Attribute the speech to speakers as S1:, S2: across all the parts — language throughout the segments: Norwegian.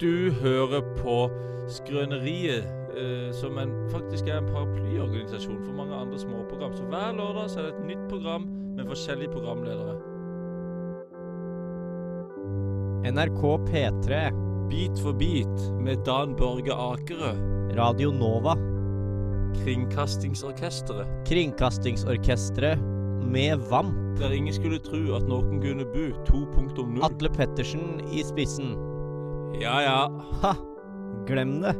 S1: Du hører på Skrøneriet, eh, som en, faktisk er en paraplyorganisasjon for mange andre småprogram. Så hver lørdag så er det et nytt program med forskjellige programledere.
S2: NRK P3,
S1: Bit for bit med Dan Børge Akerø,
S2: Radio Nova,
S1: Kringkastingsorkesteret.
S2: Kringkastingsorkestret med VAMP,
S1: Der ingen skulle tru at noen kunne bu 2.0.
S2: Atle Pettersen i spissen.
S1: Ja ja.
S2: Ha! Glem det.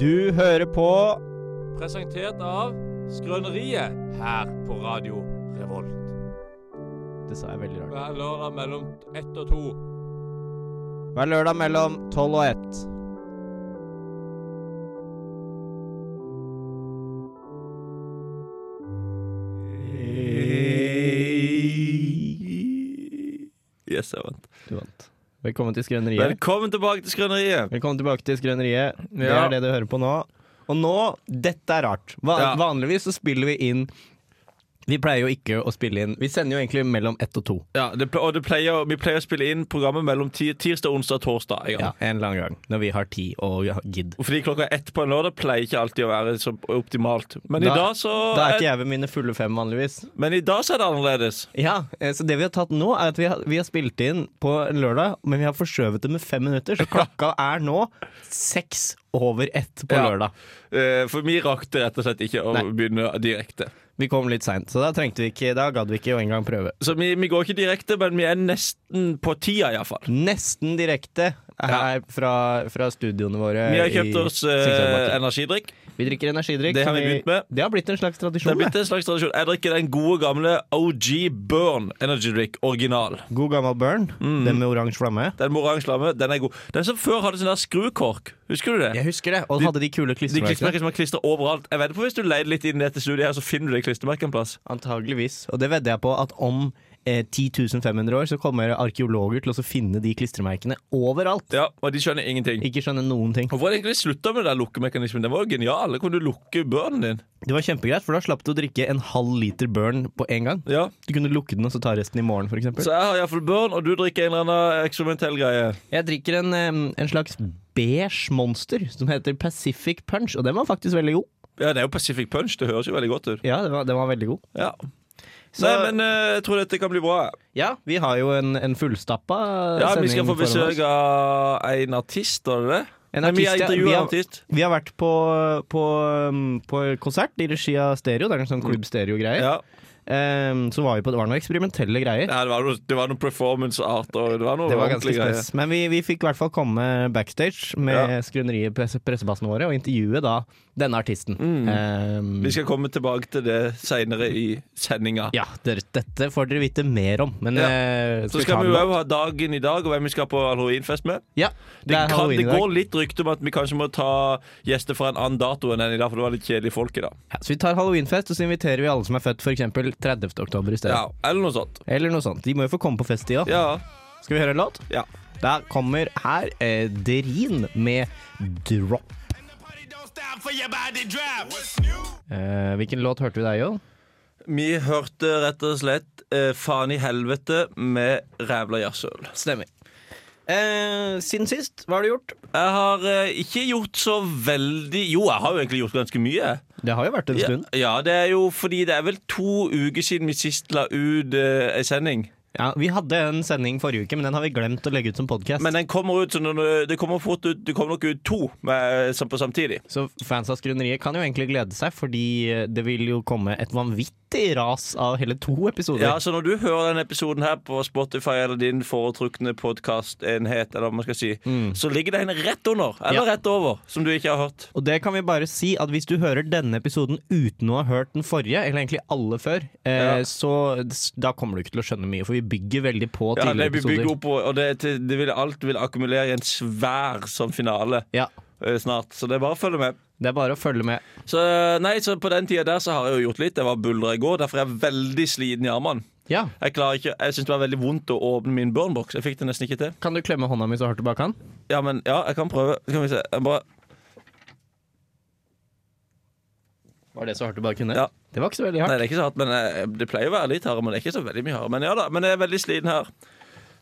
S2: Du hører på
S1: Presentert av Skrøneriet her på Radio Revolt.
S2: Det sa jeg veldig rart.
S1: Hver lørdag mellom ett og to.
S2: Hver lørdag mellom 12 og 1.
S3: Yes, jeg vant.
S2: Du vant. Velkommen til Skrøneriet.
S3: Velkommen tilbake til Skrøneriet.
S2: Velkommen tilbake til Skrøneriet. Det
S3: Ja.
S2: er det du hører på nå. Og nå Dette er rart. Va
S3: Ja.
S2: Vanligvis så spiller vi inn Vi pleier jo ikke å spille inn Vi sender jo egentlig mellom ett og to.
S3: Ja, det, ple- og det pleier, vi pleier å spille inn programmet mellom ti, tirsdag, onsdag og torsdag. en gang.
S2: Ja, en eller annen gang. Når vi har tid og gidd.
S3: Og Fordi klokka ett på en lørdag pleier ikke alltid å være så optimalt. Men,
S2: Da-
S3: i, dag så
S2: Da er ikke jeg ved mine fulle fem vanligvis.
S3: men i dag så er det annerledes.
S2: Ja, eh, Så det vi har tatt nå, er at vi har, vi har spilt inn på en lørdag, men vi har forskjøvet det med fem minutter. Så klokka er nå seks over ett på
S3: Ja.
S2: lørdag.
S3: Eh, For vi rakk det rett og slett ikke å
S2: Nei.
S3: begynne direkte.
S2: Vi kom litt seint, så da trengte vi ikke Da gadd vi ikke å engang prøve.
S3: Så vi, vi går ikke direkte, men vi er nesten på tida, iallfall.
S2: Nesten direkte her fra, fra studioene våre.
S3: Vi har
S2: i
S3: kjøpt oss eh,
S2: Singsakerbakken.
S3: energidrikk.
S2: Vi drikker energidrikk.
S3: Det har
S2: som
S3: vi begynt med.
S2: Det har blitt en slags
S3: Det
S2: tradisjon.
S3: er blitt en slags tradisjon. Jeg drikker den gode gamle OG Burn Energy Drink original.
S2: det. God gammel burn.
S3: Mm.
S2: Den med oransje flamme.
S3: Den med oransje flamme, den er god. Den som før hadde sånn der skrukork, husker du det?
S2: Jeg husker det. Og
S3: De-
S2: hadde de kule
S3: De
S2: klistremerkene.
S3: klistremerkene som er klistra overalt. Jeg vet på Hvis du leter litt inn i dette studiet, her så finner du det klistremerket en plass.
S2: Antageligvis. Og det vedder jeg på at om eh, 10.500 år så kommer arkeologer til å så finne de klistremerkene overalt.
S3: Ja, Og de skjønner ingenting.
S2: Ikke skjønner noen ting.
S3: Hvorfor har de egentlig slutta med den der lukkemekanismen? Den var jo genial. Da kunne du lukke børnen din.
S2: Det var kjempegreit, for da slapp du å drikke en halv liter burn på en gang.
S3: Ja,
S2: Du kunne lukke den og så ta resten i morgen, f.eks.
S3: Så jeg har iallfall børn, og du drikker en eller annen eh, eksperimentell greie.
S2: Jeg drikker en, eh, en slags beige monster som heter Pacific Punch, og den var faktisk veldig god.
S3: Ja, Det er jo Pacific Punch. Det høres jo veldig godt ut.
S2: Ja, den var, den var veldig god.
S3: Ja.
S2: Så-
S3: Nei, men eh, jeg tror dette kan bli bra.
S2: Ja, vi har jo en, en fullstappa
S3: Ja, Vi
S2: sending
S3: skal få
S2: foran oss.
S3: besøk av en artist, var det det?
S2: En
S3: Nei, vi
S2: artist,
S3: har
S2: ja.
S3: intervjuet
S2: Vi
S3: en
S2: har-
S3: artist.
S2: Vi har vært på, på, um, på konsert i regi av Stereo. Det er en sånn klubbstereo-greie.
S3: Ja.
S2: Ehm, så var vi på, det var noen eksperimentelle greier.
S3: Ja, det var noe, det var noe performance art og det var noe
S2: Det var ganske
S3: ordentlig greie.
S2: spes. Men vi, vi fikk i hvert fall komme backstage med skrøneriet på pressebassene våre og intervjue da denne artisten.
S3: Mm.
S2: Ehm,
S3: Vi skal komme tilbake til det seinere i sendinga.
S2: Ja, dere, dette får dere vite mer om. Men
S3: Ja.
S2: eh,
S3: Så
S2: vi
S3: skal
S2: ta
S3: vi
S2: den
S3: jo
S2: nå?
S3: òg ha dagen i dag, og hvem vi skal på halloweenfest med.
S2: Ja,
S3: Det,
S2: det er
S3: kan,
S2: halloween
S3: det
S2: i dag.
S3: går litt rykte om at vi kanskje må ta gjester fra en annen dato enn den i dag, for det var litt kjedelige folk i dag.
S2: Ja, så vi tar halloweenfest, og så inviterer vi alle som er født f.eks. 30. oktober i stedet.
S3: Ja, eller noe sånt.
S2: Eller noe sånt. De må jo få komme på fest, de òg.
S3: Ja.
S2: Skal vi høre en låt?
S3: ja.
S2: Der kommer her eh, Derin med Drop. Eh, hvilken låt hørte vi deg, Jo?
S3: Vi hørte rett og slett eh, Faen i helvete med rævla jazzøl.
S2: Stemmer. Eh, siden sist, hva har du gjort?
S3: Jeg har eh, ikke gjort så veldig Jo, jeg har jo egentlig gjort ganske mye.
S2: Det har jo vært en
S3: Ja,
S2: stund.
S3: ja, det er jo fordi det er vel to uker siden vi sist la ut eh, ei sending.
S2: Ja, Vi hadde en sending forrige uke, men den har vi glemt å legge ut som podkast.
S3: Men den kommer ut, så når- det kommer fort ut Det kommer nok ut to med, sam- på samtidig.
S2: Så fans av Skrøneriet kan jo egentlig glede seg, fordi eh, det vil jo komme et vanvittig ras av hele to episoder.
S3: Ja, så når du hører denne episoden her på Spotify eller din foretrukne podkastenhet, eller hva man skal si, så ligger det en rett under, eller
S2: Mm. Ja.
S3: rett over, som du ikke har hørt.
S2: Og det kan vi bare si at hvis du hører denne episoden uten å ha hørt den forrige, eller egentlig alle før, eh,
S3: Ja.
S2: så s- da kommer du ikke til å skjønne mye, for vi bygger veldig på
S3: Ja, det
S2: tidligere
S3: blir bygget
S2: episoder.
S3: opp, og og det, det vil, alt vil akkumulere i en svær sånn finale
S2: Ja,
S3: eh, snart. Så det er bare å følge med.
S2: det er bare å følge med.
S3: Så, eh, nei, så på den tida der så har jeg jo gjort litt. Jeg var buldra i går, derfor er jeg veldig sliten i armene.
S2: Ja,
S3: Jeg, klarer ikke- jeg syns det var veldig vondt å åpne min burnbox. Jeg fikk det nesten ikke til.
S2: Kan du klemme hånda mi så hardt du bare kan?
S3: Ja, men ja, jeg kan prøve. Skal vi se. Jeg bare
S2: Var det så hardt du bare kunne?
S3: Ja.
S2: Det var ikke så veldig
S3: Nei,
S2: hardt.
S3: det er ikke så hardt, men eh, det pleier å være litt hardere. Men det er ikke så veldig mye hardere. Men ja da, men jeg er veldig sliten her.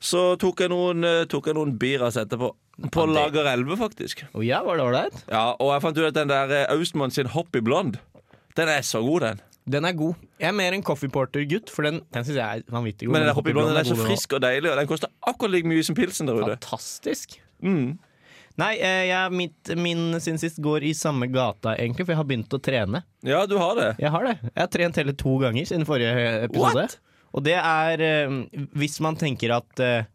S3: Så tok jeg noen, eh, tok jeg noen biras etterpå. På Lager 11, faktisk.
S2: Å ja, var det ålreit?
S3: Ja, Og jeg fant ut at den der eh, Austmann sin Hoppy Blond, den er så god, den.
S2: Den er god. Jeg er mer en Coffee Porter-gutt, for den, den syns jeg er vanvittig god.
S3: Men den
S2: Hoppy
S3: Hoppy Blond den er så
S2: god, den også.
S3: frisk og deilig, og den koster akkurat like mye som pilsen der ute.
S2: Fantastisk.
S3: Mm.
S2: Nei, eh, jeg, mitt, min sin sist går i samme gata, egentlig, for jeg har begynt å trene.
S3: Ja, du har det.
S2: Jeg har det. Jeg har trent hele to ganger siden forrige episode.
S3: What?
S2: Og det er eh, hvis man tenker at eh,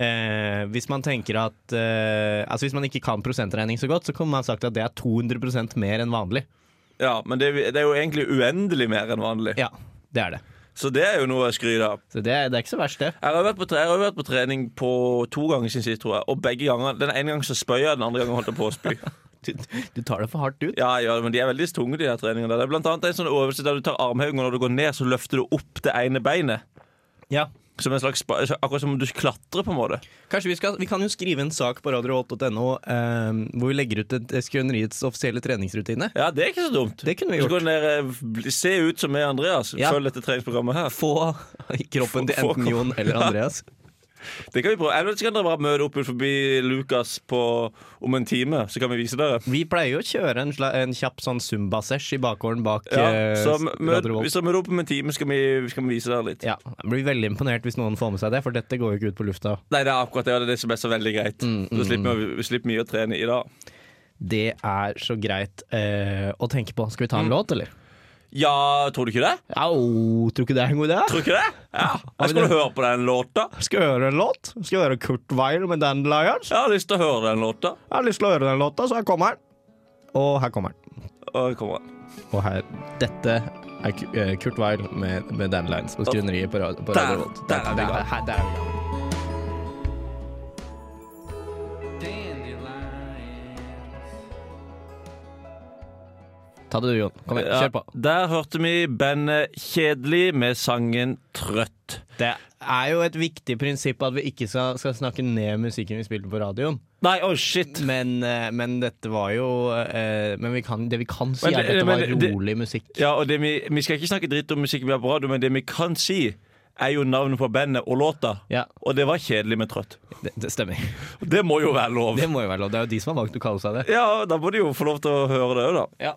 S2: eh, hvis man tenker at eh, Altså hvis man ikke kan prosentregning så godt, så kunne man sagt at det er 200 mer enn vanlig.
S3: Ja, Men det, er- det er jo egentlig uendelig mer enn vanlig,
S2: Ja, det er det.
S3: så det er jo noe å skryte av.
S2: Så det, er- det er ikke så verst, det.
S3: Jeg har jo vært på, tre, jeg har jo vært på trening på to ganger siden sist, tror jeg. Og begge ganger. Den ene gangen så spøy jeg, den andre gangen holdt jeg på å spy.
S2: Du, du tar det for hardt ut.
S3: Ja, jeg gjør det, men De er veldig tunge, de der treningene. der. Det er blant annet en sånn øvelse der du tar armhevinger, og når du går ned, så løfter du opp det ene beinet.
S2: Ja.
S3: Som en slags, spa- akkurat som om du klatrer, på en måte.
S2: Kanskje vi, skal, vi kan jo skrive en sak på radiovolt.no eh, hvor vi legger ut et- Skrøneriets offisielle treningsrutine.
S3: Ja, det er ikke så dumt.
S2: Det kunne vi
S3: Så
S2: gjort.
S3: kan dere bli- eh, se ut som meg og Andreas.
S2: Ja.
S3: Følg dette treningsprogrammet her.
S2: Få kroppen til
S3: Få- få
S2: enten
S3: kroppen.
S2: Jon eller Andreas.
S3: Det kan vi prøve. Eller så kan dere bare møte opp ut forbi Lukas på, om en time, så kan vi vise dere.
S2: Vi pleier jo å kjøre en, sla- en kjapp sånn zumba-sesh i bakgården bak
S3: Ja,
S2: eh,
S3: så møt,
S2: Radio Volt.
S3: hvis dere møter opp om en time, skal vi, skal vi vise dere litt.
S2: Ja, jeg blir veldig imponert hvis noen får med seg det, for dette går jo ikke ut på lufta.
S3: Nei, det er akkurat det, og det er det som er så veldig greit.
S2: Mm,
S3: Så slipper vi, vi slipper mye å trene i dag.
S2: Det er så greit eh, å tenke på. Skal vi ta
S3: Mm.
S2: en låt, eller?
S3: Ja, tror du ikke det?
S2: Au, tror ikke det er en god idé?
S3: Tror du ikke det? Ja, Jeg skulle høre på den låta.
S2: Skal jeg høre en låt? Skal jeg høre Kurt Weil med Dandelions?
S3: Jeg har lyst til å høre den låta.
S2: Jeg har lyst til å høre den låta, så her kommer den. Og her kommer den.
S3: Og her kommer den.
S2: Og her. Dette er Ku- eh, Kurt Weil med, med Dandelions på Skrøneriet på Radio, på
S3: Der-
S2: Radio Volt.
S3: der er vi i gang.
S2: her- der er vi i gang. Ta det du, Jon. Kom igjen,
S3: Ja,
S2: kjør på.
S3: der hørte vi bandet Kjedelig med sangen Trøtt.
S2: Det er jo et viktig prinsipp at vi ikke skal, skal snakke ned musikken vi spilte på radioen.
S3: Nei, oh shit.
S2: Men, eh, men dette var jo eh, Men vi kan, det vi kan si,
S3: Men
S2: er at
S3: det-
S2: dette var
S3: men det-
S2: rolig musikk.
S3: Ja, og det vi, vi skal ikke snakke dritt om musikken vi har på radio, men det vi kan si, er jo navnet på bandet og låta.
S2: Ja,
S3: Og det var Kjedelig med Trøtt.
S2: det, det stemmer.
S3: Og Det må jo være lov.
S2: Det må jo være lov. Det er jo de som har valgt å kalle seg det.
S3: Ja, da må de jo få lov til å høre det òg, da.
S2: Ja.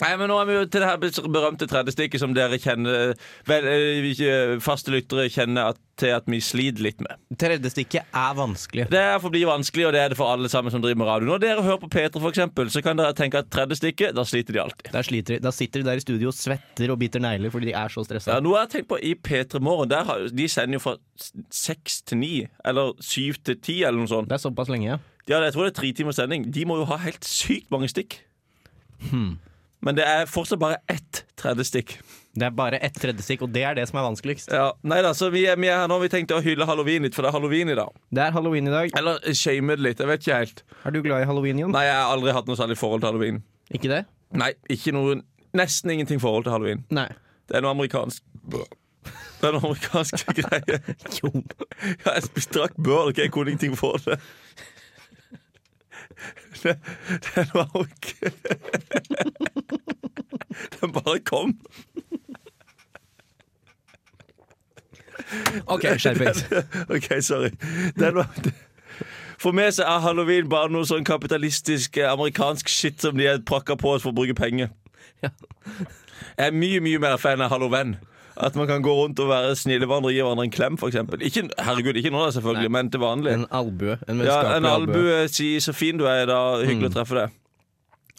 S3: Nei, men Nå er vi jo til det her berømte tredje stikket som dere kjenner vel, eh, ikke- faste lyttere kjenner at, til at vi sliter litt med.
S2: Tredje stikket er vanskelig.
S3: Det er forblir vanskelig, og det er det for alle sammen som driver med radio. Når dere hører på Peter, for eksempel, så kan dere tenke at tredje stikket, da sliter de alltid.
S2: Der sliter de, da sitter de der i studio og svetter og biter negler fordi de er så
S3: Ja,
S2: stressa.
S3: noe jeg har tenkt på i P3 Morgen, der har, de sender jo fra s- seks til ni, eller syv til ti, eller noe sånt.
S2: Det er såpass lenge, ja.
S3: Ja, jeg tror det er tre timers sending. De må jo ha helt sykt mange stikk. Men det er fortsatt bare ett tredje stikk.
S2: Det er bare ett tredje stikk, og det er det som er vanskeligst.
S3: Ja, nei da, så vi er, vi er her nå. Vi tenkte å hylle halloween litt, for det er halloween i dag.
S2: Det er halloween i dag.
S3: Eller shame det litt. Jeg vet ikke helt.
S2: Er du glad i halloween, Jon?
S3: Nei, jeg har aldri hatt noe særlig forhold til halloween.
S2: Ikke det?
S3: Nei, ikke noe Nesten ingenting forhold til halloween.
S2: Nei.
S3: Det er noe amerikansk Det er noe amerikansk greie.
S2: Jon.
S3: Ja, jeg spiste- drakk burl, ikke jeg kunne ingenting for det. Det, det var jo ikke Den bare kom.
S2: OK, skjerpings.
S3: OK, sorry. Den var for meg så er halloween bare noe sånn kapitalistisk eh, amerikansk shit som de har prakka på oss for å bruke penger.
S2: Ja.
S3: Jeg er mye mye mer fan av halloween. At man kan gå rundt og være snille med hverandre og gi hverandre en klem, f.eks. Herregud, ikke nå, da, selvfølgelig, men til vanlig.
S2: En albue. En
S3: Ja, en
S2: vennskapelig albue.
S3: albue. Si så fin du er i dag.
S2: Mm.
S3: Hyggelig å treffe deg.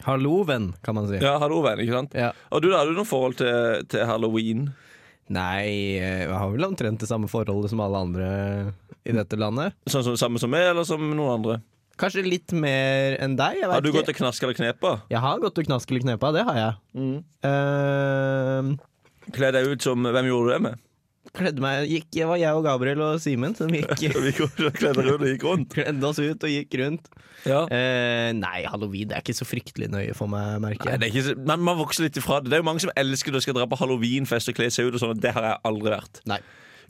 S2: Hallo, venn, kan man si.
S3: Ja, hallo, venn. ikke sant?
S2: Ja.
S3: Og du, da, Har du noe forhold til, til halloween?
S2: Nei, eh, jeg har vel omtrent det samme forholdet som alle andre i dette landet.
S3: Sånn som, Samme som meg, eller som noen andre?
S2: Kanskje litt mer enn deg. Jeg,
S3: Har
S2: vet
S3: du
S2: ikke.
S3: gått til knask eller knepa?
S2: jeg har gått og knask eller knepa, det har jeg.
S3: Mm.
S2: Eh,
S3: Kle deg ut som Hvem gjorde du det med?
S2: kledde meg gikk, Det var jeg og Gabriel og Simen som gikk
S3: Vi går- kledde deg ut og gikk rundt.
S2: Kledde oss ut og gikk rundt.
S3: Ja.
S2: Eh, nei, halloween det er ikke så fryktelig nøye for meg, merker
S3: Nei,
S2: jeg.
S3: det er ikke, så- men man vokser litt ifra det. Det er jo mange som elsker det og skal dra på halloweenfest og kle seg ut. og sånn, og Det har jeg aldri vært.
S2: Nei.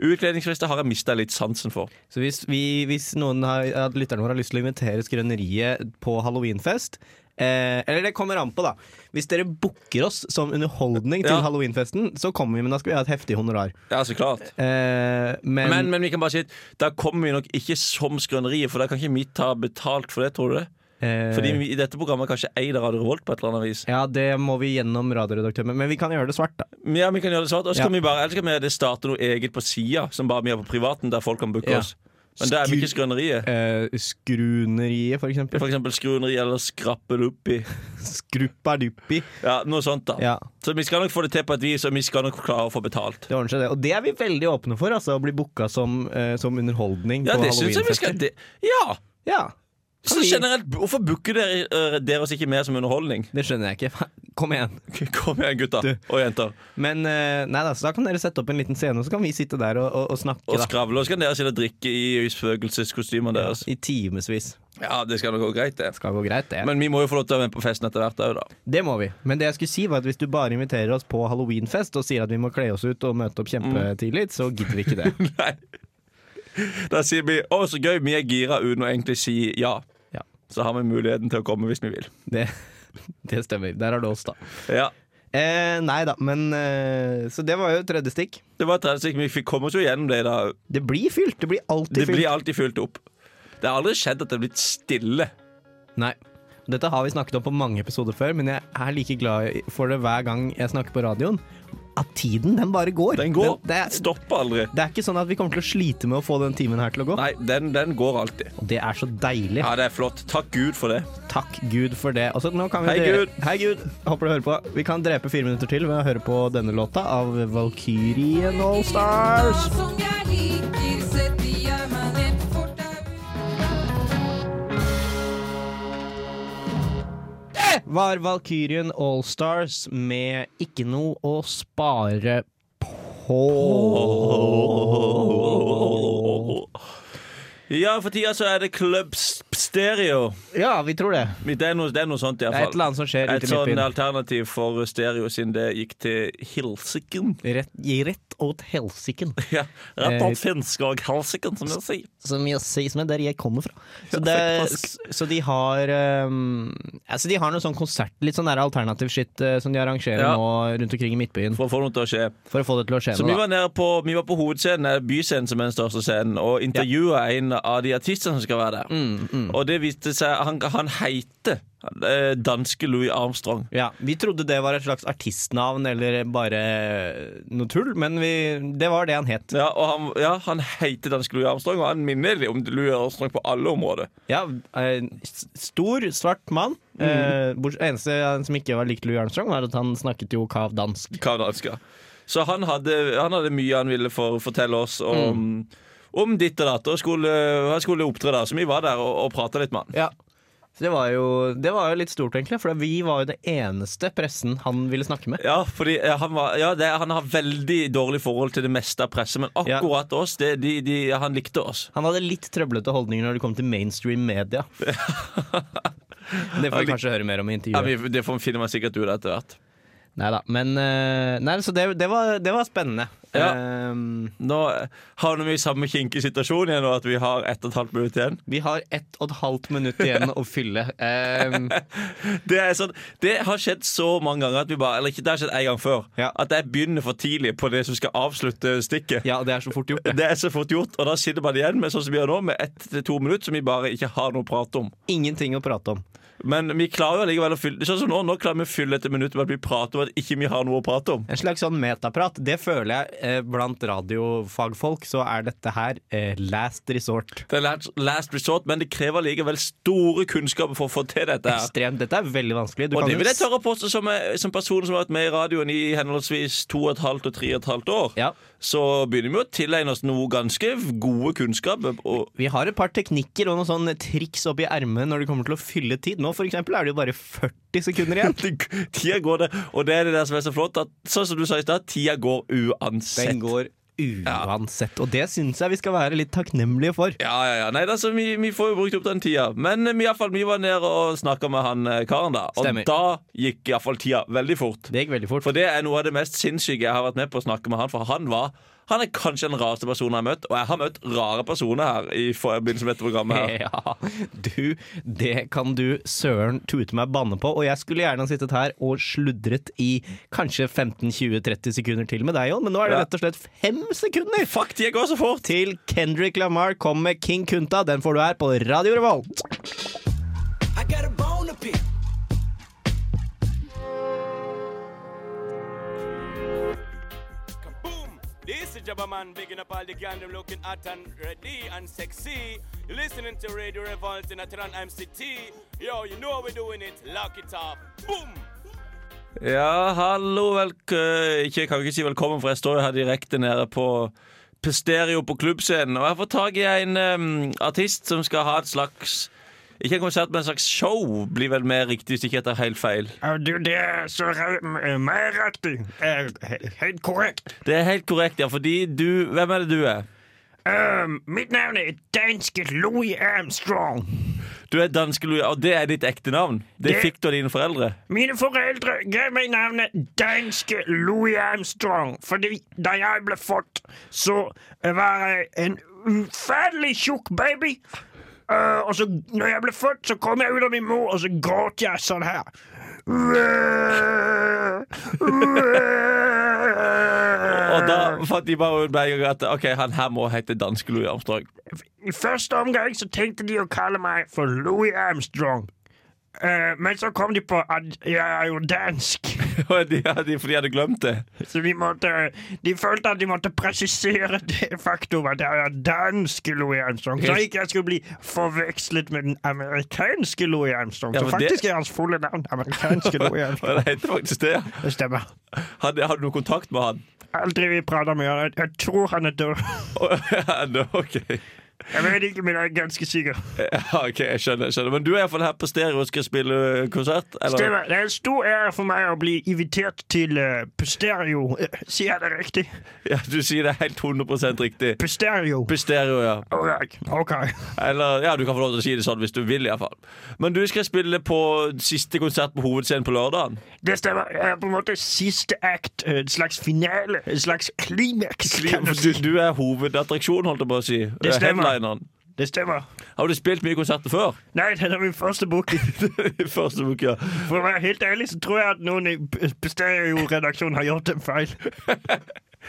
S3: Utkledningsfester har jeg mista litt sansen for.
S2: Så hvis, vi, hvis noen har, at lytterne våre har lyst til å invitere Skrøneriet på halloweenfest, Eh, eller det kommer an på, da. Hvis dere booker oss som underholdning til
S3: Ja.
S2: halloweenfesten, så kommer vi, men da skal vi ha et heftig honorar.
S3: Ja, så klart.
S2: Eh, men,
S3: Men, men vi kan bare si at da kommer vi nok ikke som Skrøneriet, for da kan ikke vi ta betalt for det, tror du det?
S2: eh,
S3: Fordi vi, i dette programmet er kanskje eid av Radio Revolt på et eller annet vis.
S2: Ja, det må vi gjennom radioredaktøren, men vi kan gjøre det svart, da.
S3: Men Ja, vi kan gjøre det sånn svart. Og så
S2: Ja.
S3: kan vi bare, ellers kan vi starte noe eget på sida, som bare vi har på privaten, der folk kan booke
S2: Ja.
S3: oss. Men da er vi ikke Skrøneriet.
S2: Eh, skruneriet, for eksempel.
S3: For eksempel Skrøneri eller Skrappeluppi.
S2: Skruppaduppi.
S3: Ja, noe sånt, da.
S2: Ja,
S3: Så vi skal nok få det til på et vis, og vi skal nok klare å få betalt.
S2: det ordner seg, det. Og det er vi veldig åpne for, altså. Å bli booka som, eh, som underholdning
S3: Ja,
S2: på
S3: det syns jeg vi
S2: halloweenfester.
S3: skal det. Ja!
S2: Ja,
S3: Så generelt, hvorfor booker dere, eh, dere oss ikke mer som underholdning?
S2: det skjønner jeg ikke. Kom igjen.
S3: Kom igjen, gutter
S2: Du.
S3: og jenter.
S2: Men eh, nei da, så da kan dere sette opp en liten scene, og så kan vi sitte der og, og, og snakke
S3: Og
S2: da,
S3: skravle. Og så kan dere sitte og drikke i spøkelseskostymene deres.
S2: i timevis.
S3: Ja, det skal nok gå greit, det.
S2: Skal gå greit, det.
S3: Men vi må jo få lov til å være med på festen etter hvert òg, da.
S2: det må vi. Men det jeg skulle si var at hvis du bare inviterer oss på halloweenfest og sier at vi må kle oss ut og møte opp
S3: Mm.
S2: kjempetidlig, så gidder vi ikke det.
S3: Nei. Da sier vi 'Å, så gøy, vi er gira', uten å egentlig si ja.
S2: Ja.
S3: Så har vi muligheten til å komme hvis vi vil.
S2: Det, det stemmer. Der har du oss, da.
S3: Ja.
S2: Eh, nei da, men eh, Så det var jo tredje stikk.
S3: Det var 30 sekunder. Vi fikk komme oss jo gjennom det, da.
S2: Det blir fylt. Det blir alltid
S3: Det
S2: fylt.
S3: blir alltid fylt opp. Det har aldri skjedd at det har blitt stille.
S2: Nei. Dette har vi snakket om på mange episoder før, men jeg er like glad i- for det hver gang jeg snakker på radioen. At tiden, den bare går.
S3: Den går.
S2: Det, det, er,
S3: Stopper aldri.
S2: det er ikke sånn at vi kommer til å slite med å få den timen her til å gå.
S3: Nei, den, den går alltid.
S2: Og det er så deilig.
S3: Ja, det er flott. Takk Gud for det.
S2: Takk Gud for det. Og så nå kan vi
S3: Hei,
S2: dre-
S3: Gud.
S2: Hei, Gud. Håper du hører på. Vi kan drepe fire minutter til ved å høre på denne låta av Valkyrien Allstars.
S4: Som jeg liker, setter jeg meg ned for deg.
S2: var Valkyrien Allstars med ikke noe å spare på.
S3: Ja, for tida så er det Club Stereo.
S2: Ja, vi tror det.
S3: Det er noe, det er noe sånt,
S2: Det er et
S3: iallfall.
S2: eller annet som skjer
S3: Altså, Et
S2: ute i
S3: sånn
S2: midtbyen.
S3: alternativ for stereo, siden det gikk til Hilsiken.
S2: Rett, gi rett åt helsiken,
S3: Ja, rett og
S2: Eh,
S3: slett finsk og halsiken, som jeg sier.
S2: som jeg sier som er der jeg kommer fra. Så, det, s- så de har um, altså De har noe sånn konsert, litt sånn der alternativ shit eh, som de arrangerer
S3: Ja.
S2: nå rundt omkring i Midtbyen,
S3: For å få noe til å skje.
S2: for å få det til å skje
S3: Så vi
S2: noe. da.
S3: var, nede på, vi var på hovedscenen, eller byscenen som er den største scenen, og intervjua en av de artistene som skal være der. Og det viste seg Han, han heter eh, danske Louis Armstrong.
S2: Ja, Vi trodde det var et slags artistnavn eller bare noe tull, men vi, det var det han het.
S3: Ja, og han, ja, han heter danske Louis Armstrong, og han minner litt om Louis Armstrong på alle områder.
S2: Ja, eh, s- Stor, svart mann. Eh, bort- eneste som ikke var likt Louis Armstrong, var at han snakket jo kav dansk.
S3: Hva han elsker. Så han hadde, han hadde mye han ville for, fortelle oss om, om ditt og datt. Og skulle, han skulle opptre der, så vi var der og, og prata litt med han.
S2: Ja så det var, jo, det var jo litt stort, egentlig, for vi var jo det eneste pressen han ville snakke med.
S3: Ja, fordi eh, han, var, ja det, han har veldig dårlig forhold til det meste av presset, men
S2: Ja.
S3: akkurat oss, det, de, de, han likte oss.
S2: Han hadde litt trøblete holdninger når det kom til mainstream media. Det får vi kanskje høre mer om i
S3: Ja,
S2: intervjuet.
S3: vi, det får- finner man sikkert ut av etter hvert.
S2: Neida, men eh, nei, så det, det, var, det var spennende.
S3: Ja.
S2: Ehm,
S3: Nå eh, havner vi i samme kinkige situasjon igjen, og at vi har ett og et halvt minutt igjen.
S2: vi har ett og et halvt minutt igjen å fylle. Ehm,
S3: Det, er sånn, det har skjedd så mange ganger, at vi bare, eller ikke, det har skjedd en gang før,
S2: Ja.
S3: at jeg begynner for tidlig på det som skal avslutte stikket.
S2: ja, det er så fort gjort. det.
S3: Det er så fort gjort, og da sitter man igjen med sånn som vi gjør nå, med ett til to minutter som vi bare ikke har noe å prate om.
S2: Ingenting å prate om.
S3: Men vi klarer jo likevel å fylle Sånn som nå, nå klarer vi å fylle et minutt med at vi prater om at ikke vi har noe å prate om.
S2: En slags sånn metaprat. Det føler jeg eh, blant radiofagfolk, så er dette her eh, last resort.
S3: Det er last- last resort, men det krever likevel store kunnskaper for å få til dette her.
S2: Ekstremt. Dette er veldig vanskelig. Du
S3: Og
S2: kan
S3: det
S2: jo
S3: vil jeg
S2: s-
S3: tørre å påstå som, eh, som person som har vært med i radioen i henholdsvis to og et halvt og tre og et halvt år.
S2: Ja.
S3: Så begynner vi å tilegne oss noe ganske gode kunnskaper. Og
S2: Vi har et par teknikker og noen sånne triks oppi ermet når det kommer til å fylle tid. Nå for eksempel er det jo bare 40 sekunder igjen.
S3: tida går det, og det er det der som er så flott, at sånn som du sa i stad, tida går uansett.
S2: Den går uansett. Og det syns jeg vi skal være litt takknemlige for.
S3: Ja, ja, ja. Nei, altså, vi, vi får jo brukt opp den tida. Men eh, i alle fall, vi var nede og snakka med han eh, karen, da. Og
S2: Stemmer.
S3: da gikk iallfall tida veldig fort.
S2: Det gikk veldig fort.
S3: For det er noe av det mest sinnssyke jeg har vært med på å snakke med han, for han var Han er kanskje den rareste personen jeg har møtt, og jeg har møtt rare personer her. I forbindelse med dette programmet her
S2: Ja, du, det kan du søren tute meg banne på. Og jeg skulle gjerne ha sittet her og sludret i kanskje 15-20-30 sekunder til med deg, Jon, men nå er det
S3: Ja.
S2: rett og slett fem sekunder
S3: Fuck, de går så fort!
S2: til Kendrick Lamar kommer med King Kunta. Den får du her på Radio Revolt.
S5: I got a bone to pick.
S6: Boom! This is Jabba Man bigging up all the gang them looking hot and ready and sexy. You're listening to Radio Revolt in Atran MCT. Yo, you know how we're doing it. Lock it up. Boom!
S3: Ja, hallo, velk... øh, Ikke, jeg kan ikke si velkommen, for jeg står jo her direkte nede på Pisterio på klubbscenen. Og jeg får tak i en øhm, artist som skal ha et slags Ikke en konsert, men et slags show. Blir vel mer riktig hvis ikke jeg tar helt feil.
S7: Ja, Eh, Du, det er så re- m- mer riktig. Eh, he- Helt korrekt.
S3: Det er helt korrekt, ja, fordi du Hvem er det du er?
S7: Um, mitt navn er danske Louis Armstrong.
S3: Du er danske Louis, og det er ditt ekte navn? Det
S7: Det-
S3: fikk du av dine foreldre?
S7: Mine foreldre ga meg navnet danske Louis Armstrong fordi da jeg ble født, så eh, var jeg en ufattelig tjukk baby. Eh, og så, når jeg ble født, så kom jeg ut av min mor, og så gråt jeg sånn her.
S3: Og da fant de bare ut med en gang at OK, han her må hete danske Louis Armstrong.
S7: I første omgang så tenkte de å kalle meg for Louis Armstrong. Eh, men så kom de på at jeg er jo dansk,
S3: Og de, de, for de hadde glemt det.
S7: så de, måtte, øh, de følte at de måtte presisere det faktum at jeg er dansk Louis Armstrong. Så ikke jeg skulle bli forvekslet med den amerikanske Louis Armstrong.
S3: Ja,
S7: så
S3: men det-
S7: faktisk er hans fulle navn amerikanske Louis
S3: Og
S7: Armstrong.
S3: det heter faktisk det. ja.
S7: Det stemmer.
S3: Hadde, hadde du kontakt med han?
S7: Aldri vi prater med han. Jeg- Jeg tror han er død.
S3: Å, ja, nå, ok.
S7: Jeg vet ikke, men jeg er ganske sikker.
S3: Ja, ok, jeg skjønner, jeg skjønner. Men du er iallfall her på stereo og skal spille ø, konsert? Eller?
S7: Stemmer. Det er en stor ære for meg å bli invitert til eh, Pusterio. Eh, Sier jeg det riktig?
S3: Ja, du sier det helt 100 riktig.
S7: Pusterio.
S3: På stereo, ja.
S7: Alright. Ok.
S3: Eller ja, du kan få lov til å si det sånn hvis du vil, iallfall. Men du skal spille på siste konsert på Hovedscenen på lørdagen.
S7: Det stemmer. Jeg er på en måte siste act. eh, En slags finale. En slags klimaks. kan man
S3: Du,
S7: si.
S3: du er hovedattraksjonen, holdt jeg på å si. Øh,
S7: Det stemmer.
S3: Headlineren.
S7: Det stemmer.
S3: Har du spilt mye konserter før?
S7: Nei, det er min første booking.
S3: I Første bok, ja.
S7: For å være helt ærlig så tror jeg at noen i Pusterio-redaksjonen har gjort en feil.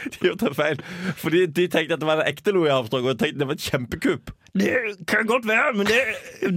S3: De gjorde en feil. Fordi de tenkte at det var en ekte Louis Armstrong, og de tenkte det var et kjempekupp.
S7: Det kan godt være, men det,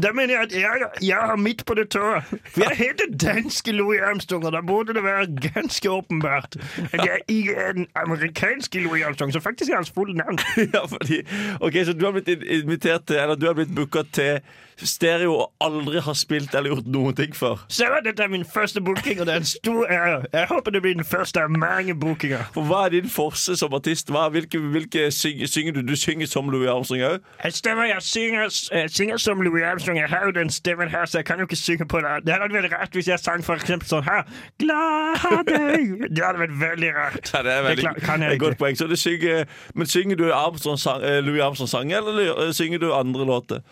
S7: der mener jeg at jeg, jeg er midt på det tørre. For jeg heter danske Louis Armstrong, og da burde det være ganske åpenbart at jeg ikke er den amerikanske Louis Armstrong, som faktisk er hans fulle navn.
S3: Ja, fordi, ok, Så du har blitt in- invitert til Eller du har blitt booka til stereo og aldri har spilt eller gjort noen ting før.
S7: Så var dette min første booking, og det er en stor ære. Jeg håper det blir den første av mange bookinger.
S3: For Hva er din forse som artist? Hva, hvilke, hvilke syng, synger du? Du synger som Louis Armstrong òg?
S7: Jeg stemmer, jeg synger, jeg synger som Louis Armstrong. Jeg har jo den stemmen her, så jeg kan jo ikke synge på det. Det hadde vært rart hvis jeg sang for eksempel sånn her. Glade Det hadde vært veldig rart.
S3: Ja, det er veldig,
S7: klar- kan jeg
S3: et godt
S7: ikke.
S3: poeng. Så du synger, men synger du Armstrong, sang- eh, Louis Armstrong-sanger, eller eh, synger du andre låter?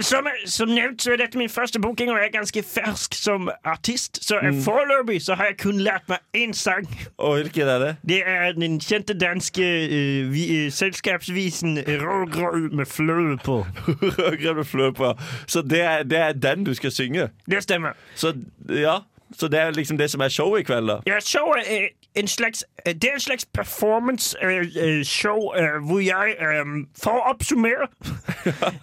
S7: Som, som nevnt så er dette min første booking, og jeg er ganske fersk som artist. Så foreløpig så har jeg kun lært meg én sang.
S3: Og hvilken er det?
S7: Det er den kjente danske eh, vi, eh, selskapsvisen Rågrøv med fløte på.
S3: Rødgrønn med fløte på. Så det er, det er den du skal synge.
S7: Det stemmer.
S3: Så ja så det er liksom det som er showet i kveld, da?
S7: Ja, showet er øh, en slags, øh, det er en slags øh, performance-show hvor jeg eh, For å oppsummere,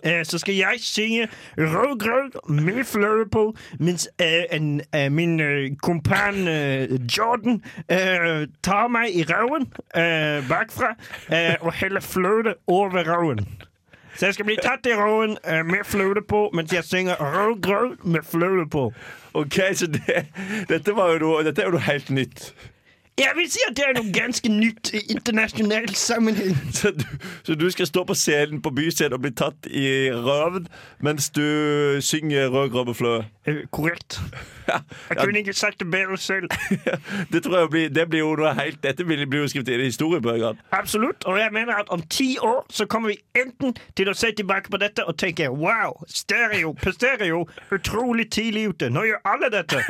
S7: eh, så skal jeg synge rødgrøt med fløte på, mens eh, en, eh, min eh, kompan eh, Jordan eh, tar meg i røven eh, bakfra eh, og heller fløte over røven. Så jeg skal bli tatt i røven eh, med fløte på, mens jeg synger rødgrøt med fløte på.
S3: Ok, så det, dette, var jo noe, dette er jo noe helt nytt.
S7: Jeg vil si at det er noe ganske nytt i internasjonal sammenheng.
S3: Så du, så du skal stå på scenen på byscenen og bli tatt i røven mens du synger Rød grabbeflø?
S7: Eh, korrekt.
S3: Ja,
S7: Jeg
S3: ja,
S7: kunne ikke sagt det bedre selv.
S3: det tror jeg blir, det blir jo noe helt Dette blir blir jo skrevet inn i historiebøkene.
S7: Absolutt. Og jeg mener at om ti år så kommer vi enten til å se tilbake på dette og tenke wow, stereo på stereo, utrolig tidlig ute, nå gjør alle dette.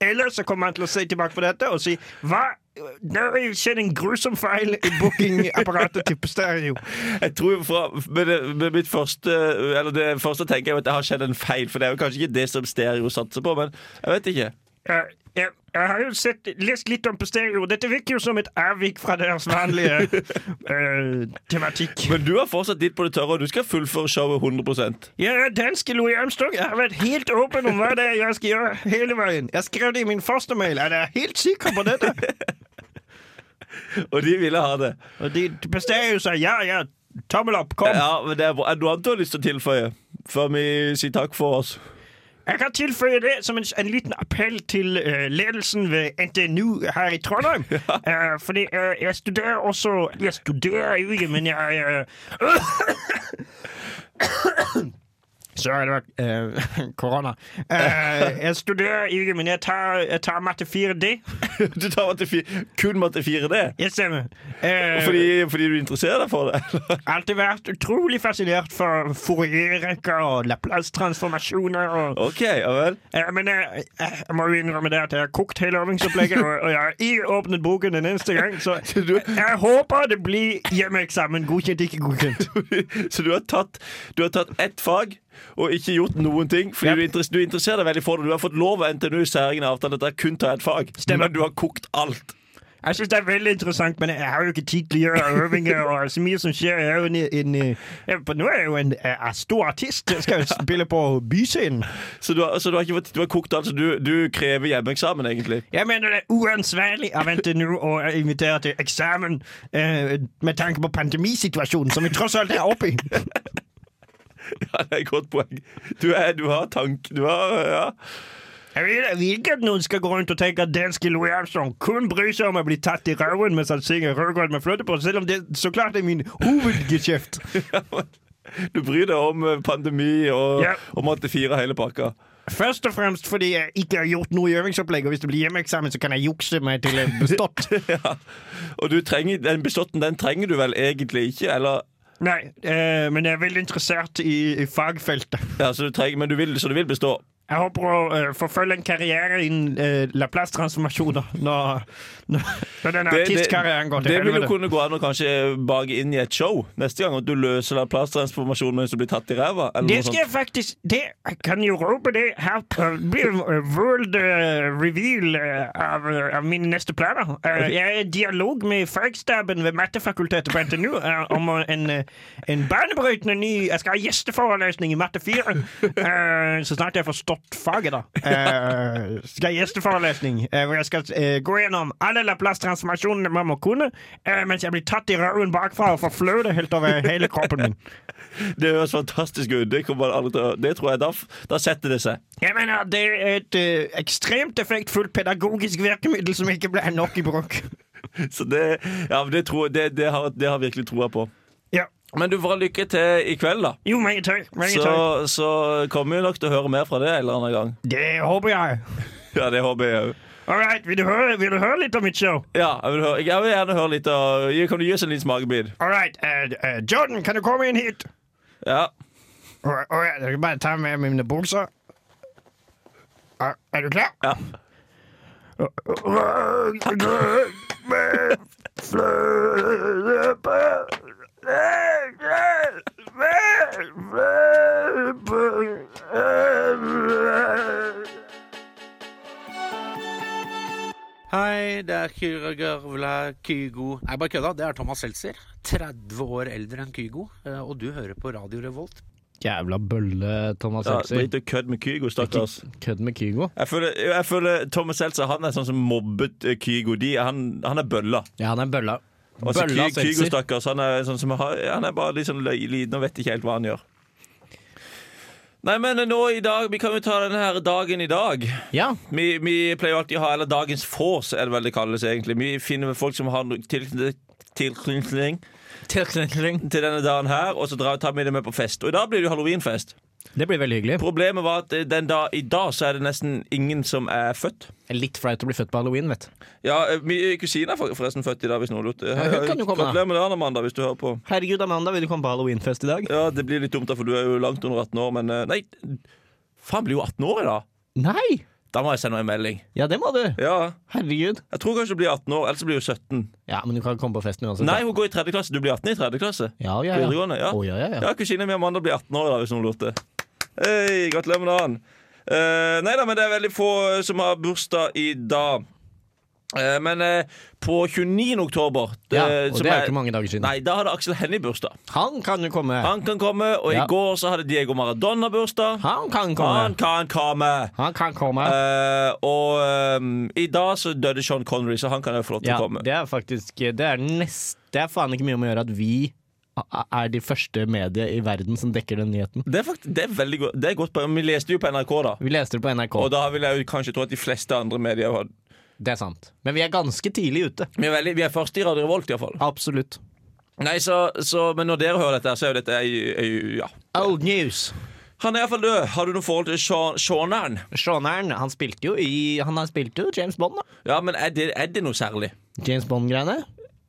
S7: Eller så kommer han til å se tilbake på dette og si Hva? Det har jo skjedd en grusom feil i bookingapparatet til Stereo.
S3: Jeg tror fra, men, det- men mitt første Eller det første jeg tenker er jo at det har skjedd en feil. For det er jo kanskje ikke det som stereo satser på, men jeg vet ikke.
S7: Jeg, Eh, jeg, jeg har jo sett, lest litt om på Stereo. Dette virker jo som et avvik fra deres vanlige eh, tematikk.
S3: Men du har fortsatt ditt på det tørre, og du skal fullføre showet 100
S7: Jeg er danske Louis Armstrong. Jeg har vært helt åpen om hva det er jeg skal gjøre hele veien. Jeg skrev det i min første mail. Er dere helt sikre på dette?
S3: Og de ville ha det.
S7: Og de bestemmer jo seg. Ja, ja. Tommel opp. Kom.
S3: Ja, men det er bra. Er det noe annet du har lyst til å tilføye før vi sier takk for oss?
S7: Jeg kan tilføye det som en, en liten appell til eh, ledelsen ved NTNU her i Trondheim. Eh, fordi eh, jeg studerer også Jeg studerer jo ikke, men jeg eh, Så er det vært eh, korona. Eh, jeg studerer ikke, men jeg tar, jeg tar matte 4D.
S3: Du tar matte fi- kun matte 4D?
S7: Jeg stemmer. Eh,
S3: Fordi, fordi du interesserer deg for det? eller?
S7: Alltid vært utrolig fascinert for Fourier-rekker og Laplace-transformasjoner. og...
S3: OK, ja vel.
S7: Eh, men jeg, jeg må jo innrømme det at jeg har kokt hele øvingsopplegget, og, og jeg har ikke åpnet boken den eneste gang, så jeg håper det blir hjemmeeksamen. Godkjent, ikke godkjent.
S3: Så du har tatt, du har tatt ett fag og ikke gjort noen ting. Fordi du, interess- du interesserer deg veldig for det. Du har fått lov av NTNU i særegen avtale at dere kun tar ett fag.
S7: Stemmer.
S3: Men du har kokt alt.
S7: Jeg synes det er veldig interessant, men jeg har jo ikke tid til å gjøre øvinger, og så mye som skjer. Jeg er jo en, en, eh, for nå er jeg jo en eh, stor artist. Jeg skal jo spille på byscenen.
S3: Så du har, så du har, ikke, fått- du har kokt alt, så du, du krever hjemmeeksamen, egentlig.
S7: Jeg mener det er uansvarlig av NTNU å invitere til eksamen eh, med tanke på pandemisituasjonen, som vi tross alt er oppe i.
S3: Ja, det er et godt poeng. Du, er, du har tank... Du har Ja.
S7: Jeg vil, jeg vil ikke at noen skal gå rundt og tenke at danske Louis Armstrong kun bryr seg om å bli tatt i røven mens han synger rødgrøt med fløtepose, selv om det så klart er min hovedgeskjeft.
S3: Du bryr deg om eh, pandemi og,
S7: Ja.
S3: om at det firer hele pakka.
S7: Først og fremst fordi jeg ikke har gjort noe i øvingsopplegget, og hvis det blir hjemmeeksamen, så kan jeg jukse meg til en bestått.
S3: Ja. Og du trenger, den beståtten den trenger du vel egentlig ikke, eller?
S7: Nei, eh, men jeg er veldig interessert i, i fagfeltet.
S3: Ja, så du trenger, men du vil, så du vil bestå.
S7: Jeg håper å eh, forfølge en karriere innen eh, Laplace-transformasjoner når, når, når denne
S3: det,
S7: artistkarrieren går til
S3: det vil jo
S7: helvete.
S3: kunne gå an å kanskje bake inn i et show neste gang. At du løser den plasttransformasjonen mens du blir tatt i ræva. Eller
S7: Det
S3: noe
S7: skal jeg
S3: sånt.
S7: faktisk det, Jeg kan jo rope det her på- blir eh, world eh, reveal eh, av, eh, av mine neste planer. Eh, jeg er i dialog med fagstaben ved mattefakultetet på NTNU eh, om eh, en, eh, en banebrytende ny Jeg skal ha gjesteforelesning i matte 4 eh, så snart jeg har forstått faget, da. Eh, skal ha gjesteforelesning eh, hvor jeg skal eh, gå gjennom alle Laplace-transformasjonene man må kunne, eh, mens jeg blir tatt i røven bakfra og forfløyet helt over hele kroppen min.
S3: Det høres fantastisk ut. Det, kommer man aldri til å- det tror jeg da, f- da setter det seg.
S7: Jeg mener, det er et eh, ekstremt effektfullt pedagogisk virkemiddel som ikke ble nok i bruk.
S3: Så det, ja, men det, tror, det, det, har, det har jeg virkelig troa på.
S7: Ja.
S3: Men du får ha lykke til i kveld, da.
S7: Jo, mange takk. Mange
S3: Så,
S7: takk.
S3: så kommer vi nok til å høre mer fra det en eller annen gang.
S7: Det håper jeg.
S3: Ja, det håper jeg òg.
S7: All right, vil du høre, vil du høre litt om mitt show?
S3: Ja, jeg vil, høre, jeg vil gjerne høre litt av Kan du gi oss en liten smakebit?
S7: All right, eh, eh, Jordan, kan du komme inn hit?
S3: Ja.
S7: All right, all right, jeg skal bare ta med mine bukser. Er, er du klar?
S3: ja.
S8: Hei, det er Kyra Garvla Kygo. Nei, bare kødda. Det er Thomas Seltzer. 30 år eldre enn Kygo. eh, Og du hører på Radio Revolt.
S2: Jævla bølle, Thomas
S3: ja
S2: Seltzer.
S3: Drit og kødd med Kygo, stakkars.
S2: Kødd med Kygo.
S3: Jeg føler, jeg føler Thomas Seltzer han er sånn som mobbet eh, Kygo. De, han, han er bølla.
S2: Ja, han er bølla.
S3: Altså,
S2: Bølla
S3: Ky, Kygo,
S2: Seltzer.
S3: stakkars, han er, sånn som, har- han er bare litt sånn løy- liten og vet ikke helt hva han gjør. Nei, men eh, nå i dag Vi kan jo ta denne her dagen i dag.
S2: Ja.
S3: Vi, vi pleier jo alltid å ha Eller dagens vors, er det vel det kalles egentlig. Vi finner folk som har noe tilknytning tilknytning til denne dagen her, og så drar, tar vi det med på fest. Og i dag blir det jo halloweenfest.
S2: Det blir veldig hyggelig.
S3: Problemet var at eh, den da, i dag så er det nesten ingen som er født.
S2: Litt flaut å bli født på halloween, vet du.
S3: Ja, eh, min kusine er for- forresten født i dag, hvis noen lurte.
S2: hun kan jo komme, da.
S3: Gratulerer med dagen, Amanda, hvis du hører på.
S2: Herregud, Amanda, vil du komme på halloweenfest i dag?
S3: Ja, det blir litt dumt, da, for du er jo langt under 18 år, men eh, Nei, faen, blir jo 18 år i dag!
S2: Nei!
S3: Da må jeg sende en melding.
S2: Ja, det må du.
S3: Ja,
S2: Herregud.
S3: Jeg tror kanskje hun blir 18 år, ellers blir hun 17.
S2: Ja, men du kan komme på festen uansett.
S3: Nei, hun går i tredje klasse. Du blir 18 i tredje klasse.
S2: Ja, ja, ja.
S3: Videregående, ja.
S2: Å, ja, ja, ja.
S3: Ja, kusina mi Amanda blir 18 år i dag, hvis hun lurte. Hei, gratulerer med dagen. Uh, nei da, men det er veldig få eh, som har bursdag i dag. Eh, men eh, på 29. oktober
S2: Ja,
S3: eh,
S2: og
S3: som
S2: det er jo ikke mange dager siden.
S3: Nei, da hadde Aksel Hennie bursdag.
S2: Han kan jo komme.
S3: Han kan komme, og
S2: Ja.
S3: i går så hadde Diego Maradona bursdag.
S2: Han kan
S3: Han
S2: komme.
S3: kan komme.
S2: Han kan komme.
S3: Eh, og ehm, i dag så døde Sean Connery, så han kan jo få lov til
S2: Ja,
S3: å komme.
S2: det er faktisk Det er nest Det er faen ikke mye om å gjøre at vi er de første medier i verden som dekker den nyheten.
S3: Det er, faktisk, det er veldig godt. Det er godt poeng. Vi leste jo på NRK, da.
S2: Vi leste det på NRK.
S3: Og da vil jeg jo kanskje tro at de fleste andre medier har
S2: Det er sant. Men vi er ganske tidlig ute.
S3: Vi er, veldig, vi er først i Radio Revolt, iallfall.
S2: Absolutt.
S3: Nei, så, så, men når dere hører dette, her, så er jo dette ei, ei, ja.
S2: Old news.
S3: Han er iallfall død. Har du noe forhold til Sean- Seaneren?
S2: Seaneren, han spilte jo i Han har spilt jo James Bond, da.
S3: Ja, men er det, er det noe særlig?
S2: James Bond-greiene.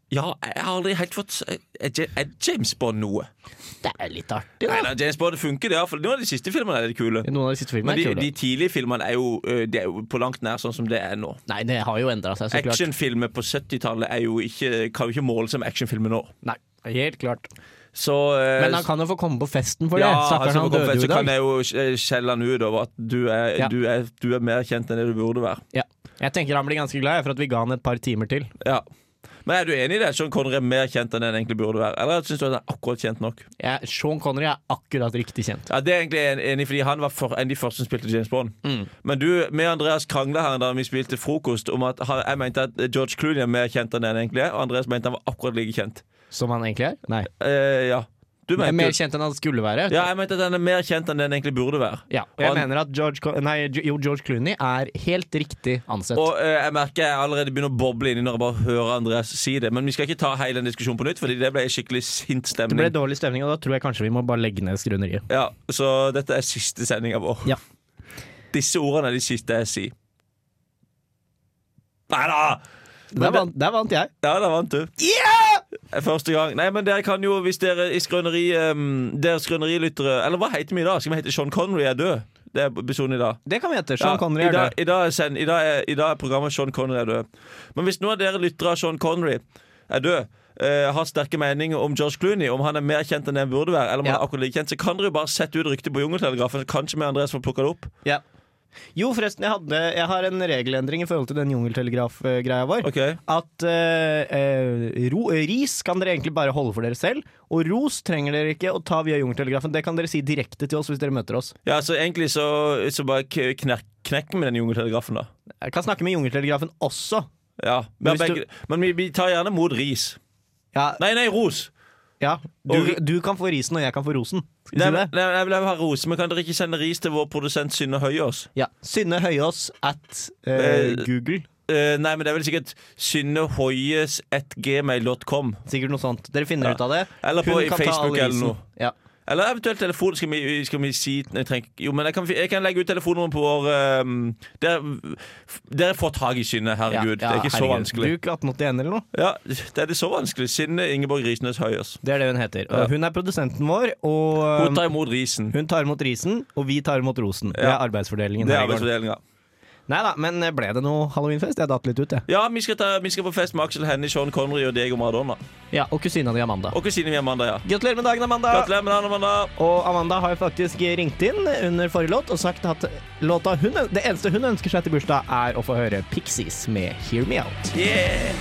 S3: Ja, jeg har aldri helt fått Er, er James Bond noe?
S2: Det er litt artig,
S3: Nei,
S2: da.
S3: nei, James Bond funker, det. For noen av de siste filmene er litt kule.
S2: Noen av de siste filmene
S3: Men de,
S2: er kule.
S3: de tidlige filmene er jo, ø, de er jo på langt nær sånn som det er nå.
S2: Nei, det har jo endra seg, så klart.
S3: Actionfilmer på 70-tallet er jo ikke- kan jo ikke måles som actionfilmer nå.
S2: Nei, helt klart.
S3: Så
S2: Men han kan jo få komme på festen for det.
S3: Eh, Ja,
S2: Stakkaren,
S3: altså,
S2: han
S3: på
S2: døde
S3: konfett
S2: jo i
S3: så kan
S2: dag.
S3: jeg jo eh, skjelle han ut over at du er,
S2: Ja.
S3: du, er, du er mer kjent enn det du burde være.
S2: Ja. Jeg tenker han blir ganske glad jeg, for at vi ga han et par timer til.
S3: Ja. Men er du enig i det? at Sean Connery er mer kjent enn det han egentlig burde være? Eller syns du at han er akkurat kjent nok?
S2: Jeg, Sean Connery er akkurat riktig kjent.
S3: Ja, det er jeg egentlig en- enig i, fordi Han var for, en av de første som spilte James Bond. Men du, vi og Andreas krangla her da vi spilte frokost om at han, jeg mente at George Clooney er mer kjent enn det han egentlig er, og Andreas mente han var akkurat like kjent.
S2: Som han egentlig er? Nei.
S3: Eh, ja. Du
S2: Er
S3: mente
S2: mer
S3: jo-
S2: kjent enn han skulle være.
S3: Ja, jeg mente at han er mer kjent enn det han egentlig burde være.
S2: Ja, og
S3: Og
S2: jeg
S3: han-
S2: mener at George, Co- nei, jo, George Clooney er helt riktig ansett.
S3: Og eh, jeg merker jeg allerede begynner å boble inni når jeg bare hører Andreas si det. Men vi skal ikke ta hele den diskusjonen på nytt, Fordi det ble en skikkelig sint
S2: det ble
S3: stemning.
S2: dårlig stemning, og da tror jeg kanskje vi må bare legge ned skrøneriet.
S3: ja, så dette er siste sendinga vår.
S2: Ja.
S3: Disse ordene er de siste jeg sier. Nei da!
S2: Der vant, der vant jeg.
S3: Ja, da vant du. Eh, Første gang. Nei, men dere kan jo, hvis dere i skrøneri um, Dere skrønerilyttere Eller hva heter vi i dag? Skal vi hete Sean Connery er død? Det er episoden i dag.
S2: Det kan vi hete. Sean
S3: Ja,
S2: Connery
S3: i
S2: er
S3: dag,
S2: død.
S3: i dag, er send, i, dag er, I dag er programmet Sean Connery er død. Men hvis noen av dere lyttere av Sean Connery er død, eh, har sterke meninger om George Clooney, om han er mer kjent enn han burde være, eller om han
S2: Ja.
S3: er akkurat like kjent, så kan dere jo bare sette ut ryktet på Jungeltelegrafen. så Kanskje vi Andreas får plukka det opp.
S2: Ja. Jo, forresten, jeg, hadde, jeg har en regelendring i forhold til den jungeltelegraf-greia vår.
S3: Ok
S2: At eh, eh, ro, eh, ris kan dere egentlig bare holde for dere selv, og ros trenger dere ikke å ta via jungeltelegrafen. Det kan dere si direkte til oss hvis dere møter oss.
S3: Ja, så Egentlig så, så bare k- knerk, knekker vi den Jungeltelegrafen, da.
S2: Jeg kan snakke med jungeltelegrafen også.
S3: Ja,
S2: Men
S3: men
S2: hvis
S3: begge, men vi, vi tar gjerne mot ris.
S2: Ja,
S3: Nei, nei, ros!
S2: ja. Du,
S3: Og ri-
S2: du kan få risen, og jeg kan få rosen. Skal vi
S3: Nei,
S2: si det?
S3: men- nei, jeg vil ha ros, men kan dere ikke sende ris til vår produsent Synne Høyås?
S2: Ja. Synne Høyås at
S3: Eh,
S2: eh, Google.
S3: Eh, nei, men det er vel sikkert synnehoies.gmail.com.
S2: Sikkert noe sånt. Dere finner
S3: Ja.
S2: ut av det.
S3: Eller på
S2: Hun
S3: i
S2: kan ta
S3: Facebook
S2: all
S3: eller
S2: risen.
S3: noe.
S2: Ja.
S3: Eller eventuelt telefon. Skal vi, skal vi si nei, jeg trenger, ikke- Jo, men jeg kan, fi- jeg kan legge ut telefonnummeret på vår ehm, Dere, dere får tak i Synne, herregud.
S2: Ja,
S3: det er ikke så
S2: herregud.
S3: vanskelig.
S2: Bruk 1881 eller noe.
S3: Ja, det er det så vanskelig. Synne Ingeborg Risnes Høyers.
S2: Det er det hun heter. Og
S3: Ja.
S2: Hun er produsenten vår, og
S3: Hun
S2: um,
S3: tar imot risen.
S2: hun tar imot risen, og vi tar imot rosen. Det
S3: Ja.
S2: er arbeidsfordelingen.
S3: Det er
S2: her i gården.
S3: arbeidsfordelinga.
S2: Nei da, men eh, ble det noe halloweenfest? Jeg datt litt ut, jeg.
S3: Ja, vi skal, ta, vi skal på fest med Aksel Hennie, Sean Connery og Diego Maradona.
S2: Ja, og kusina di, Amanda.
S3: Og kusina mi Amanda, ja.
S2: Gratulerer med dagen, Amanda!
S3: Gratulerer med dagen, Amanda.
S2: Og Amanda har faktisk ringt inn under forrige låt og sagt at låta hun, det eneste hun ønsker seg til bursdag, er å få høre Pixies med Hear Me Out.
S3: Yeah!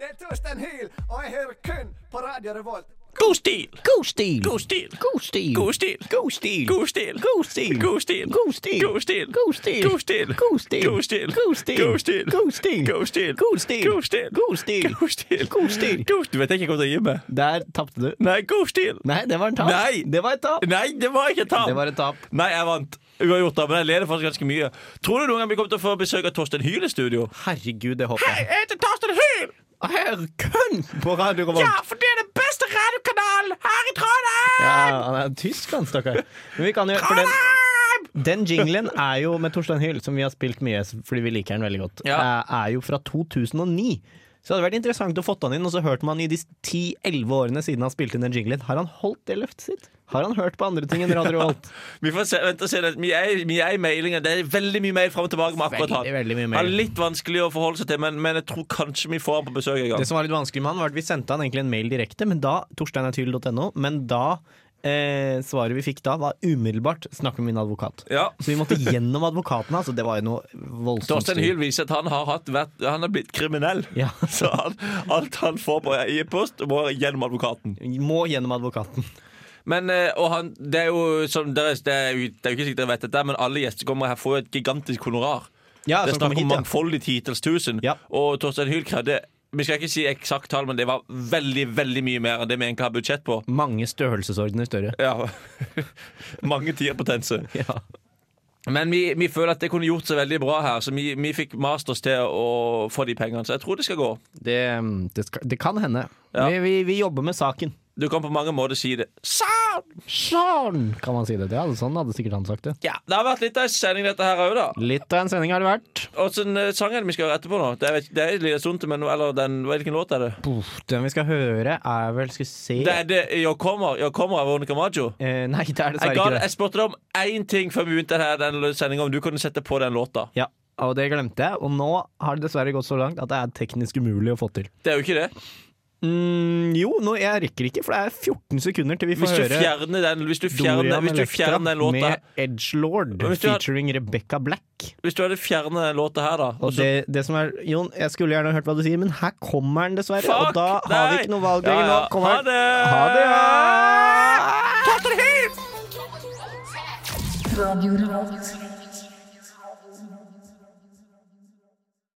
S5: Det er Torstein Hyl, og jeg hører kun på Radio Revolt.
S3: God stil!
S2: God stil!
S3: God stil!
S2: God stil!
S3: God stil!
S2: God stil!
S3: God stil!
S2: God stil!
S3: God stil!
S2: God stil!
S3: God stil!
S2: God stil!
S3: God stil!
S2: God stil!
S3: God stil!
S2: God stil!
S3: God stil!
S2: God stil!
S3: God stil!
S2: God stil!
S3: God stil!
S2: God stil!
S3: God stil!
S2: God stil!
S3: God- Du vet ikke hva det gir meg?
S2: Der tapte du.
S3: Nei, god stil!
S2: Nei, det var en tap.
S3: Nei!
S2: Det var et tap.
S3: Nei, det var ikke tap!
S2: Det var et tap.
S3: Nei, jeg vant. Uavgjort, da, men jeg leder faktisk ganske mye. Tror du noen gang vi kommer til å få besøk av Torstein Hyl i studio?
S2: Herregud, det håper jeg.
S3: heter Torstein Hyl!
S2: Her kun på Radio Revolt.
S3: for det er den beste radiokanalen her i Trondheim!
S2: Ja, han er tysk, han stakkar. Men vi kan jo for den, den jinglen er eh, jo med Torstein Hyll, som vi har spilt mye fordi vi liker den veldig godt,
S3: Ja.
S2: er er jo fra 2009. Så det hadde vært interessant å fått han inn, og så hørte man i de 10-11 årene siden han spilte inn den jinglen, har han holdt det løftet sitt? Har han hørt på andre ting enn Radio Volt?
S3: Vi får se, vent og se det. Vi er, vi er i mailingen. Det er veldig mye mail fram og tilbake med akkurat han.
S2: Veldig, veldig mye mail.
S3: Han er litt vanskelig å forholde seg til, men, men jeg tror kanskje vi får han på besøk en gang.
S2: Det som var litt vanskelig med han, var at vi sendte han egentlig en mail direkte, men da torsteinatydel.no, men da eh, svaret vi fikk da, var umiddelbart 'snakk med min advokat'.
S3: Ja.
S2: Så vi måtte gjennom advokaten hans, og det var jo noe voldsomt
S3: Torstein Hyl viser at han har, hatt, vært, han har blitt kriminell.
S2: Ja.
S3: Så han, alt han får på e-post, må gjennom advokaten.
S2: Må gjennom advokaten.
S3: Men, eh, og han, det er jo som dere, det, er, jo- det er jo ikke sikkert dere vet dette, men alle gjester som kommer her får jo et gigantisk honorar.
S2: Ja, som
S3: det er snakk
S2: kommer
S3: om
S2: hit, ja.
S3: mangfoldig titalls tusen.
S2: Ja.
S3: Og Torstein Hyl krevde Vi skal ikke si eksakt tall, men det var veldig veldig mye mer enn det vi egentlig har budsjett på.
S2: Mange størrelsesordener større.
S3: Ja. Mange tier potense.
S2: Ja.
S3: Men vi, vi føler at det kunne gjort seg veldig bra her, så vi, vi fikk mast oss til å få de pengene. Så jeg tror det skal gå.
S2: Det, mm, det, skal, det kan hende.
S3: Ja.
S2: Vi, vi, vi jobber med saken.
S3: Du kan på mange måter si det.
S2: Sånn kan man si det. det hadde, sånn hadde sikkert han sagt det.
S3: Ja, Det har vært litt av en sending, dette her òg, da.
S2: Litt av en sending har det vært.
S3: Og så den eh, sangen vi skal høre etterpå nå. Det er, det er en liten stund til, men eller den, hvilken låt er det?
S2: Puff, den vi skal høre, er vel Skal vi se
S3: Det er det Jeg kommer, jeg kommer av Veronica Maggio.
S2: eh, Nei, det er
S3: Jeg,
S2: dessverre
S3: ga,
S2: ikke det.
S3: jeg spurte deg om én ting før vi begynte her, den sendingen, om du kunne sette på den låta.
S2: Ja, og det glemte jeg. Og nå har det dessverre gått så langt at det er teknisk umulig å få til.
S3: Det er jo ikke det.
S2: Mm, jo, nå, jeg rekker ikke, for det er 14 sekunder til vi får
S3: Hvis du
S2: høre
S3: fjerner den, hvis du fjerner, hvis du
S2: Elektra
S3: fjerner den låta
S2: med Edgelord
S3: Og hvis du har-
S2: featuring Rebecca Black.
S3: Hvis du hadde fjernet den låta her, da og
S2: Og
S3: så-
S2: det, det som er, Jon, jeg skulle gjerne hørt hva du sier, men her kommer den dessverre.
S3: Fuck
S2: og da har vi
S3: deg!
S2: ikke noe valg
S3: Ja,
S2: lenger.
S3: ja.
S2: Nå kommer
S3: Ha
S2: den.
S3: det!
S2: Ha det! Ja.
S9: Radio Revolt.